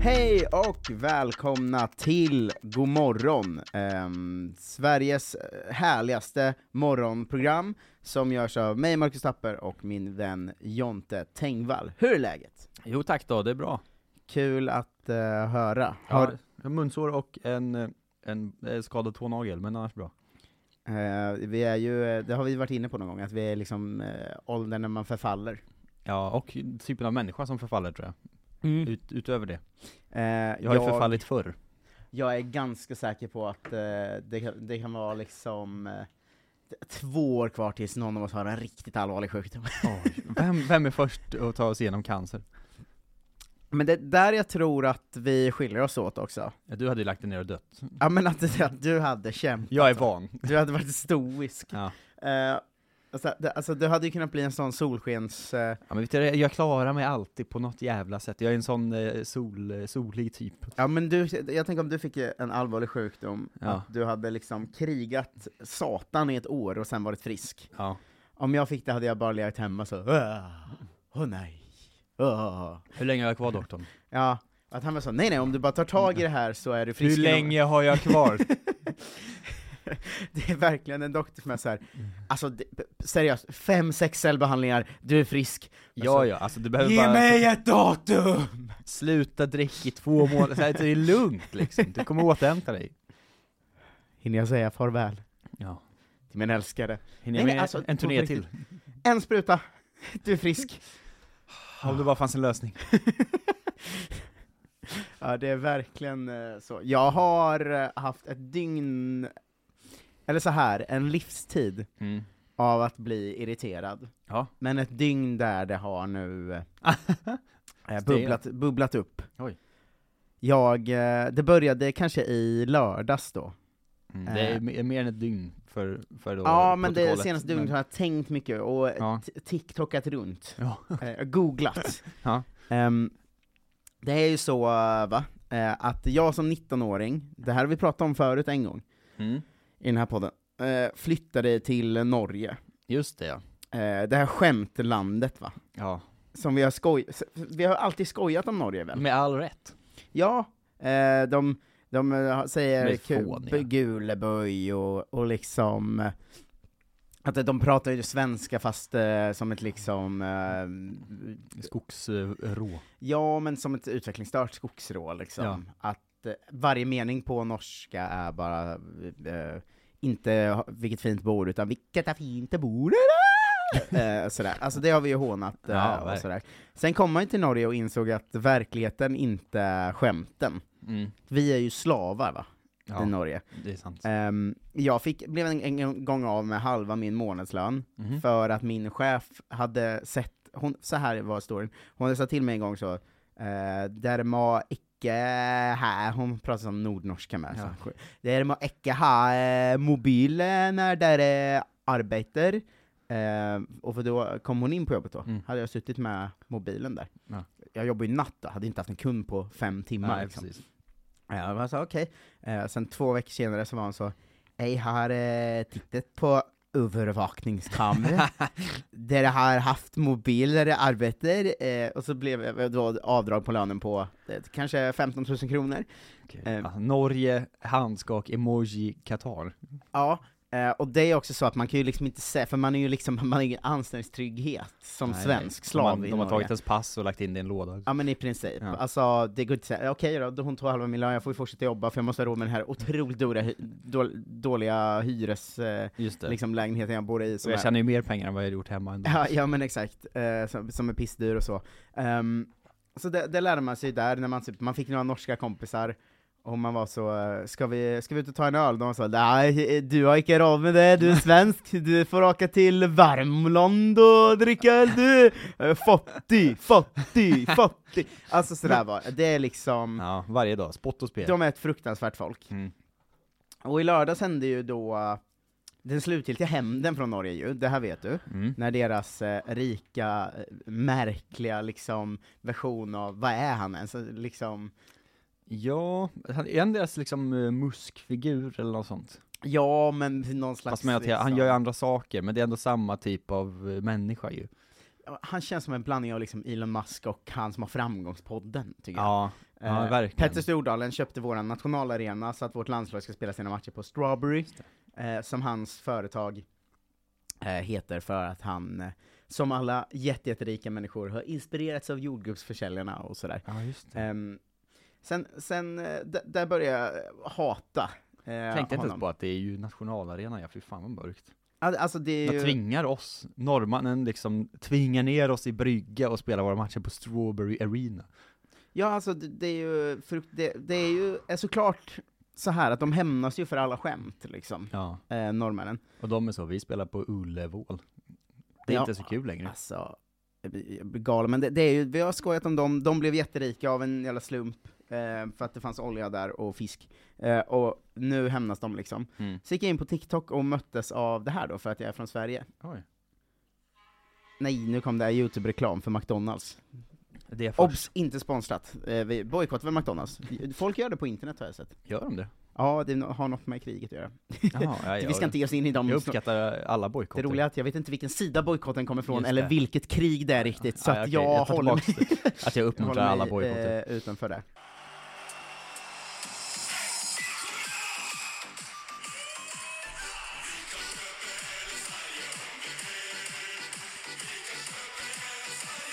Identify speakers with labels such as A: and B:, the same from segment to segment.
A: Hej och välkomna till God morgon, ehm, Sveriges eh, härligaste morgonprogram som görs av mig, Marcus Tapper, och min vän Jonte Tengvall. Hur är läget?
B: Jo tack då, det är bra.
A: Kul att eh, höra.
B: Har
A: Har,
B: ja, munsår och en, eh, en eh, skadad tånagel, men annars bra.
A: eh, vi är ju, eh, det har vi varit inne på någon gång, att vi är liksom eh, åldern när man förfaller.
B: Ja, och typen av människa som förfaller tror jag. Ut, utöver det.
A: Eh,
B: Jag har ju förfallit förr.
A: Jag är ganska säker på att eh, det, kan- det kan vara liksom eh, t- två år kvar tills någon av oss har en riktigt allvarlig sjukdom.
B: Vem, vem är först att ta oss igenom cancer?
A: Men det är där jag tror att vi skiljer oss åt också.
B: Ja, Du hade ju lagt dig ner och dött. Alltså.
A: Ja men att, att du hade kämpat.
B: Jag är van.
A: Du hade varit stoisk.
B: Ja.
A: Eh, alltså, det, alltså du hade ju kunnat bli en sån solskens... eh,
B: Ja, men vet du, jag klarar mig alltid på något jävla sätt. Jag är en sån eh, sol, eh, solig typ.
A: ja men du, jag tänker om du fick en allvarlig sjukdom,
B: Ja.
A: att du hade liksom krigat satan i ett år och sen varit frisk.
B: Ja.
A: Om jag fick det hade jag bara legat hemma så, "Åh, åh nej, åh.
B: Hur länge har jag kvar doktorn?
A: Ja, att han var så, nej nej, om du bara tar tag i det här så är du frisk.
B: Hur länge har jag kvar?
A: Det är verkligen en doktor som är såhär, alltså det, seriöst, fem, sex cellbehandlingar, du är frisk.
B: ja, ja, alltså du behöver
A: Ge
B: bara...
A: mig ett datum!
B: Sluta dricka i två månader, så här, det är lugnt liksom. Du kommer återhämta dig.
A: Hinner jag säga farväl
B: Ja.
A: till min älskade?
B: Hinner
A: Nej,
B: jag
A: nej,
B: med
A: alltså,
B: en
A: på
B: turné till?
A: riktigt. En spruta, du är frisk.
B: Om det bara fanns en lösning.
A: Ja, det är verkligen eh, så. Jag har eh, haft ett dygn, eller så här, en livstid
B: Mm.
A: av att bli irriterad.
B: Ja.
A: Men ett dygn där det har nu eh, bubblat, bubblat upp.
B: Oj.
A: Jag, eh, det började kanske i lördags då.
B: Mm. Det är me- mer än ett dygn för, för då
A: Eh. ja, men det
B: protokollet.
A: senaste dygnet har jag tänkt mycket och
B: Ja.
A: t- tiktokat runt,
B: Ja.
A: eh, googlat.
B: Ja.
A: Ehm, det är ju så, eh, va, eh, att jag som 19-åring, det här har vi pratat om förut en gång
B: Mm.
A: i den här podden, eh, flyttade till Norge.
B: Just det ja.
A: Eh, det här skämtlandet va,
B: ja.
A: som vi har skoj... s- Vi har alltid skojat om Norge väl?
B: Med all rätt.
A: Ja, eh, de, de eh, säger
B: Med
A: ku-
B: fåniga.
A: bu- guleböj och, och liksom eh, att de pratar ju svenska fast eh, som ett liksom, eh,
B: Skogsrå.
A: ja men som ett utvecklingsstört skogsrå liksom.
B: Ja.
A: Att eh, varje mening på norska är bara, eh, inte ha- vilket fint bord, utan vilket är fint det bor eh, sådär. Alltså det har vi ju hånat eh,
B: Ja,
A: och
B: verkligen.
A: sådär. Sen kom man ju till Norge och insåg att verkligheten inte är skämten.
B: Mm.
A: Vi är ju slavar va, i
B: Ja,
A: Norge.
B: det är sant.
A: Ehm, jag fick, blev en, en gång av med halva min månadslön,
B: Mhm.
A: för att min chef hade sett, hon, så här var storyn, hon hade sagt till mig en gång så, eh, där må icke här, hon pratar som nordnorska med, så. där må icke ha eh, mobil eh, när där eh, arbetar, Eh, och för då kom hon in på jobbet då,
B: Mm.
A: hade jag suttit med mobilen där.
B: Ja.
A: Jag jobbar ju natt då, hade inte haft en kund på fem timmar.
B: Nej,
A: liksom.
B: precis.
A: Ja, man sa okej. Eh, sen två veckor senare så var han så, jag har eh, tittat på övervakningskamera, där jag har haft mobiler jag arbetar, eh, och så blev jag då avdrag på lönen på eh, kanske 15 000 kronor. Eh,
B: Alltså, Norge, handskak, emoji, Qatar.
A: Ja, eh, och det är också så att man kan ju liksom inte säga, för man är ju liksom, man har ingen anställningstrygghet som
B: Nej,
A: svensk
B: de
A: slav
B: har-
A: i
B: De har
A: Norge.
B: tagit ens pass och lagt in det i en låda.
A: Ja men i princip.
B: Ja.
A: Alltså det går inte att säga, okej då, då, hon tog halva min lön, jag får ju fortsätta jobba för jag måste ha råd med den här otroligt dåliga, hy- då, dåliga hyres, eh,
B: Just det.
A: liksom lägenheten jag bor i.
B: så
A: Som
B: jag
A: är,
B: tjänar ju mer pengar än vad jag hade gjort hemma ändå.
A: ja, ja men exakt, eh, som, som är pissdyr och så. Ehm, så det, det lärde man sig där, när man, typ, man fick några norska kompisar, och man var så, eh, ska vi, ska vi ut och ta en öl? De sa, nej du har inte råd med det, du är svensk, du får åka till Värmland och dricka öl du! Eh, Fattig, fattig, fattig! Alltså sådär var det. det, är liksom,
B: Ja, varje dag. Spott och spel.
A: de är ett fruktansvärt folk.
B: Mm.
A: Och i lördags hände ju då eh, den slutgiltiga hämnden från Norge ju, det här vet du
B: Mm.
A: när deras eh, rika, eh, märkliga liksom, version av vad är han ens? Liksom,
B: Ja, han- är han deras liksom eh, muskfigur eller något sånt?
A: ja, men någon slags...
B: Fast med att jag- han
A: liksom-
B: gör ju andra saker, men det är ändå samma typ av eh, människa ju.
A: han känns som en blandning av liksom Elon Musk och han som har framgångspodden, tycker jag.
B: Ja, ja,
A: Eh,
B: verkligen.
A: Petter Stordalen köpte vår nationalarena så att vårt landslag ska spela sina matcher på Strawberry, eh, som hans företag eh, heter för att han, eh, som alla jätte, jätterika människor, har inspirerats av jordgubbsförsäljarna och sådär.
B: Ja, just det.
A: Ehm, sen, sen eh, d- där började jag hata eh,
B: Jag tänkte inte
A: honom.
B: ens på att det är ju nationalarenan, ja fy fan vad mörkt.
A: Al- Alltså det är
B: De
A: ju...
B: tvingar oss, norrmannen liksom tvingar ner oss i brygga och spelar våra matcher på Strawberry Arena.
A: Ja, alltså det, det är ju... frukt- det, det är ju är såklart så här att de hämnas ju för alla skämt, liksom,
B: Ja.
A: eh, norrmännen.
B: Och de är så, vi spelar på Ullevål. Det är
A: Ja.
B: inte så kul längre.
A: Alltså, jag blir jag blir galen. Men det, det är ju, vi har skojat om dem, de blev jätterika av en jävla slump, eh, för att det fanns olja där och fisk. Eh, och nu hämnas de liksom.
B: Mm.
A: Så gick jag in på TikTok och möttes av det här då, för att jag är från Sverige.
B: Oj.
A: Nej, nu kom det här YouTube-reklam för McDonalds.
B: Det är först.
A: Obs! Inte sponsrat. Eh, vi bojkottar väl McDonalds? Folk gör det på internet har jag sett.
B: Gör de det?
A: Ja, det har något med kriget att göra.
B: Jaha, ja,
A: vi ska inte ge oss in i dem.
B: Jag uppskattar alla
A: Det
B: bojkotter.
A: roliga är att jag vet inte vilken sida bojkotten kommer ifrån,
B: Just det.
A: eller vilket krig det är riktigt, så
B: Ja,
A: att
B: okej,
A: jag,
B: tar
A: håller mig,
B: tillbaks det. Att jag
A: jag
B: uppmuntrar alla
A: håller mig
B: bojkotter.
A: eh, utanför det.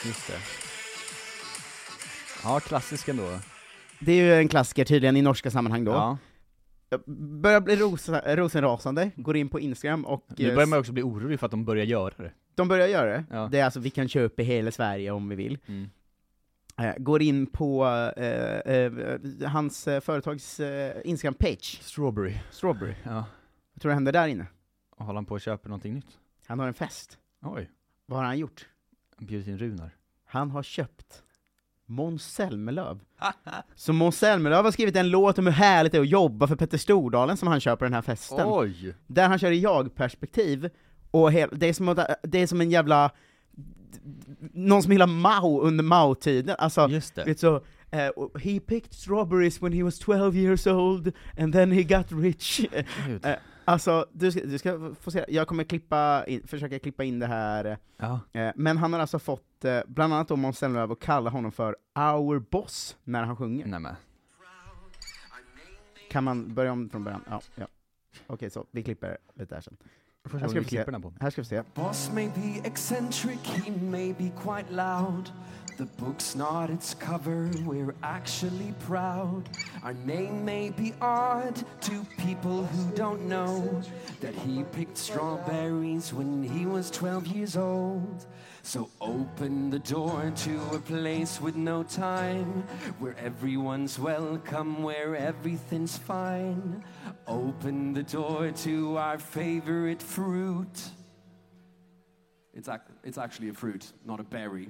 B: Just det. Ja, klassisk ändå.
A: Det är ju en klassiker tydligen i norska sammanhang då.
B: Ja.
A: Jag börjar bli rosa, rosenrasande, går in på Instagram och
B: Nu
A: eh,
B: börjar man också bli orolig för att de börjar göra det.
A: de börjar göra det.
B: Ja.
A: Det är alltså, vi kan köpa i hela Sverige om vi vill.
B: Mm.
A: Eh, går in på eh, eh, hans eh, företags eh, Instagram-page,
B: Strawberry.
A: Strawberry.
B: Ja.
A: Vad tror du händer där inne?
B: Och håller han på att köpa någonting nytt?
A: Han har en fest.
B: Oj.
A: Vad har han gjort?
B: Han bjuder in Runar.
A: Han har köpt Måns Zelmerlöw. Så Måns Zelmerlöw har skrivit en låt om hur härligt det är att jobba för Petter Stordalen som han kör på den här festen.
B: Oj!
A: Där han kör i jag-perspektiv, och he- det, är som att, det är som en jävla... Någon som gillar Mao under Mao-tiden, alltså...
B: Just det.
A: It's so uh, he picked strawberries when he was 12 years old and then he got rich.
B: Gud.
A: eh, Alltså, du ska, du ska få se, jag kommer klippa in, försöka klippa in det här,
B: Ja.
A: eh, men han har alltså fått, eh, bland annat då Måns Zelmerlöw, att kalla honom för 'our boss' när han sjunger.
B: Nej men.
A: Kan man börja om från början? Ja, ja. Okej, så vi klipper lite här sen.
B: Första
A: ska
B: gången vi
A: få se.
B: klipper den här podden.
A: Här ska vi se.
C: Boss may be eccentric, he may be quite loud. The book's not its cover, we're actually proud. Our name may be odd to people who don't know that he picked strawberries when he was 12 years old. So open the door to a place with no time, where everyone's welcome, where everything's fine. Open the door to our favorite fruit. It's, ac- it's actually a fruit, not a berry.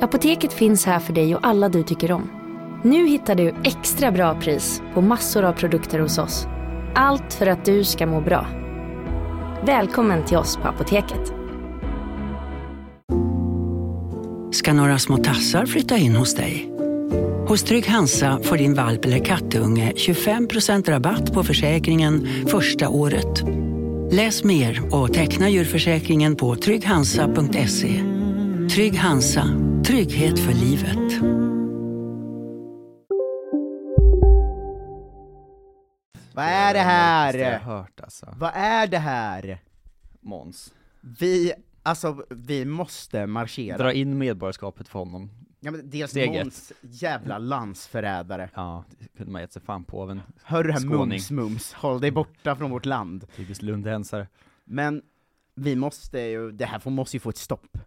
D: Apoteket finns här för dig och alla du tycker om. Nu hittar du extra bra pris på massor av produkter hos oss. Allt för att du ska må bra. Välkommen till oss på Apoteket.
E: ska några små tassar flytta in hos dig. Hos Trygg Hansa får din valp eller kattunge 25% rabatt på försäkringen första året. Läs mer och teckna djurförsäkringen på trygghansa.se. Trygg Hansa, trygghet för livet.
A: Vad är det här?
B: Jag har hört alltså.
A: Vad är det här?
B: Måns.
A: Vi, alltså vi måste marschera.
B: Dra in medborgarskapet för honom.
A: Ja, men dels
B: steget.
A: Måns jävla landsförrädare.
B: Ja, det kunde man gett sig fan på av en
A: Hör du här
B: Skåning.
A: mums mums, håll dig borta från vårt land.
B: typisk lundensare.
A: Men vi måste ju, det här får, måste ju få ett stopp.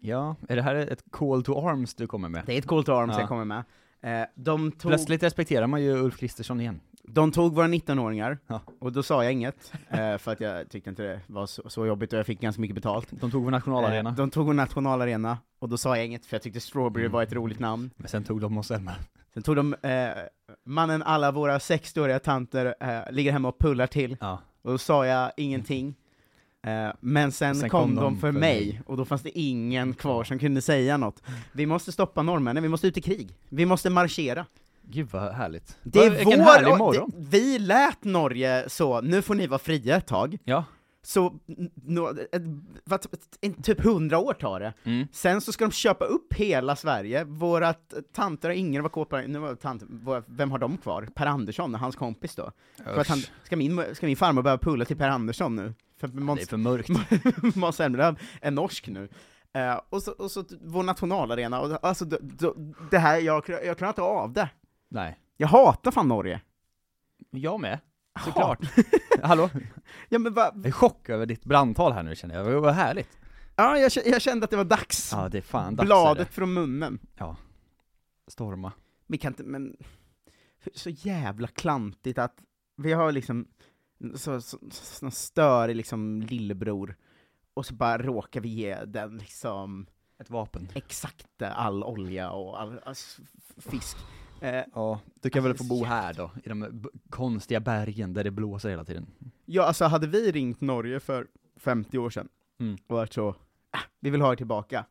B: Ja, är det här ett call to arms du kommer med?
A: Det är ett coolt arm som
B: Ja.
A: jag kommer med. Eh, de, tog,
B: Plötsligt respekterar man ju Ulf Kristersson igen.
A: de tog våra 19-åringar,
B: Ja.
A: och då sa jag inget, eh, för att jag tyckte inte det var så, så jobbigt och jag fick ganska mycket betalt.
B: De tog vår nationalarena,
A: Eh, De tog en nationalarena, och då sa jag inget för jag tyckte Strawberry var ett roligt namn.
B: men sen tog de oss hemma.
A: Sen tog de eh, mannen alla våra 60-åriga tanter eh, ligger hemma och pullar till,
B: Ja.
A: och då sa jag ingenting. Eh, men sen,
B: Sen
A: kom, de för, mig, Mm. och då fanns det ingen kvar som kunde säga något. Vi måste stoppa norrmännen, vi måste ut i krig. Vi måste marschera.
B: Gud vad härligt.
A: Det
B: Vad-
A: är
B: Vilken
A: vår,
B: härlig
A: och
B: morgon!
A: Det, vi lät Norge så, nu får ni vara fria ett tag,
B: Ja.
A: så n- nå- ett- vad- en- typ hundra år tar det.
B: Mm.
A: Sen så ska de köpa upp hela Sverige, våra t- tanter har ingen var kvar på nu var tant, våra, vem har de kvar? Per Andersson, hans kompis då? För att han, ska, min, ska min farmor behöva pulla till Per Andersson nu? För
B: Det är
A: Måns
B: för mörkt.
A: Måns Zelmerlöw är norsk nu. Eh, och, så, och så t- vår nationalarena, och, alltså d- d- det här, jag, jag klarar inte av det.
B: Nej.
A: Jag hatar fan Norge.
B: Jag med.
A: Jaha.
B: Såklart. Hallå?
A: Ja men va,
B: Jag är i chock över ditt brandtal här nu känner jag, vad- vad härligt.
A: ja, jag, kä- jag kände att det var dags.
B: Ja det är fan dags är
A: Bladet från munnen.
B: det. Storma.
A: Vi kan inte, men... Så jävla klantigt att vi har liksom så, så, så, någon störig liksom lillebror, och så bara råkar vi ge den liksom
B: Ett vapen.
A: exakt all olja och all, all s- fisk. Eh,
B: Ja, du kan väl få bo här då, i de b- konstiga bergen där det blåser hela tiden.
A: Ja, alltså hade vi ringt Norge för 50 år sedan
B: Mm.
A: och varit så, ah, vi vill ha er tillbaka.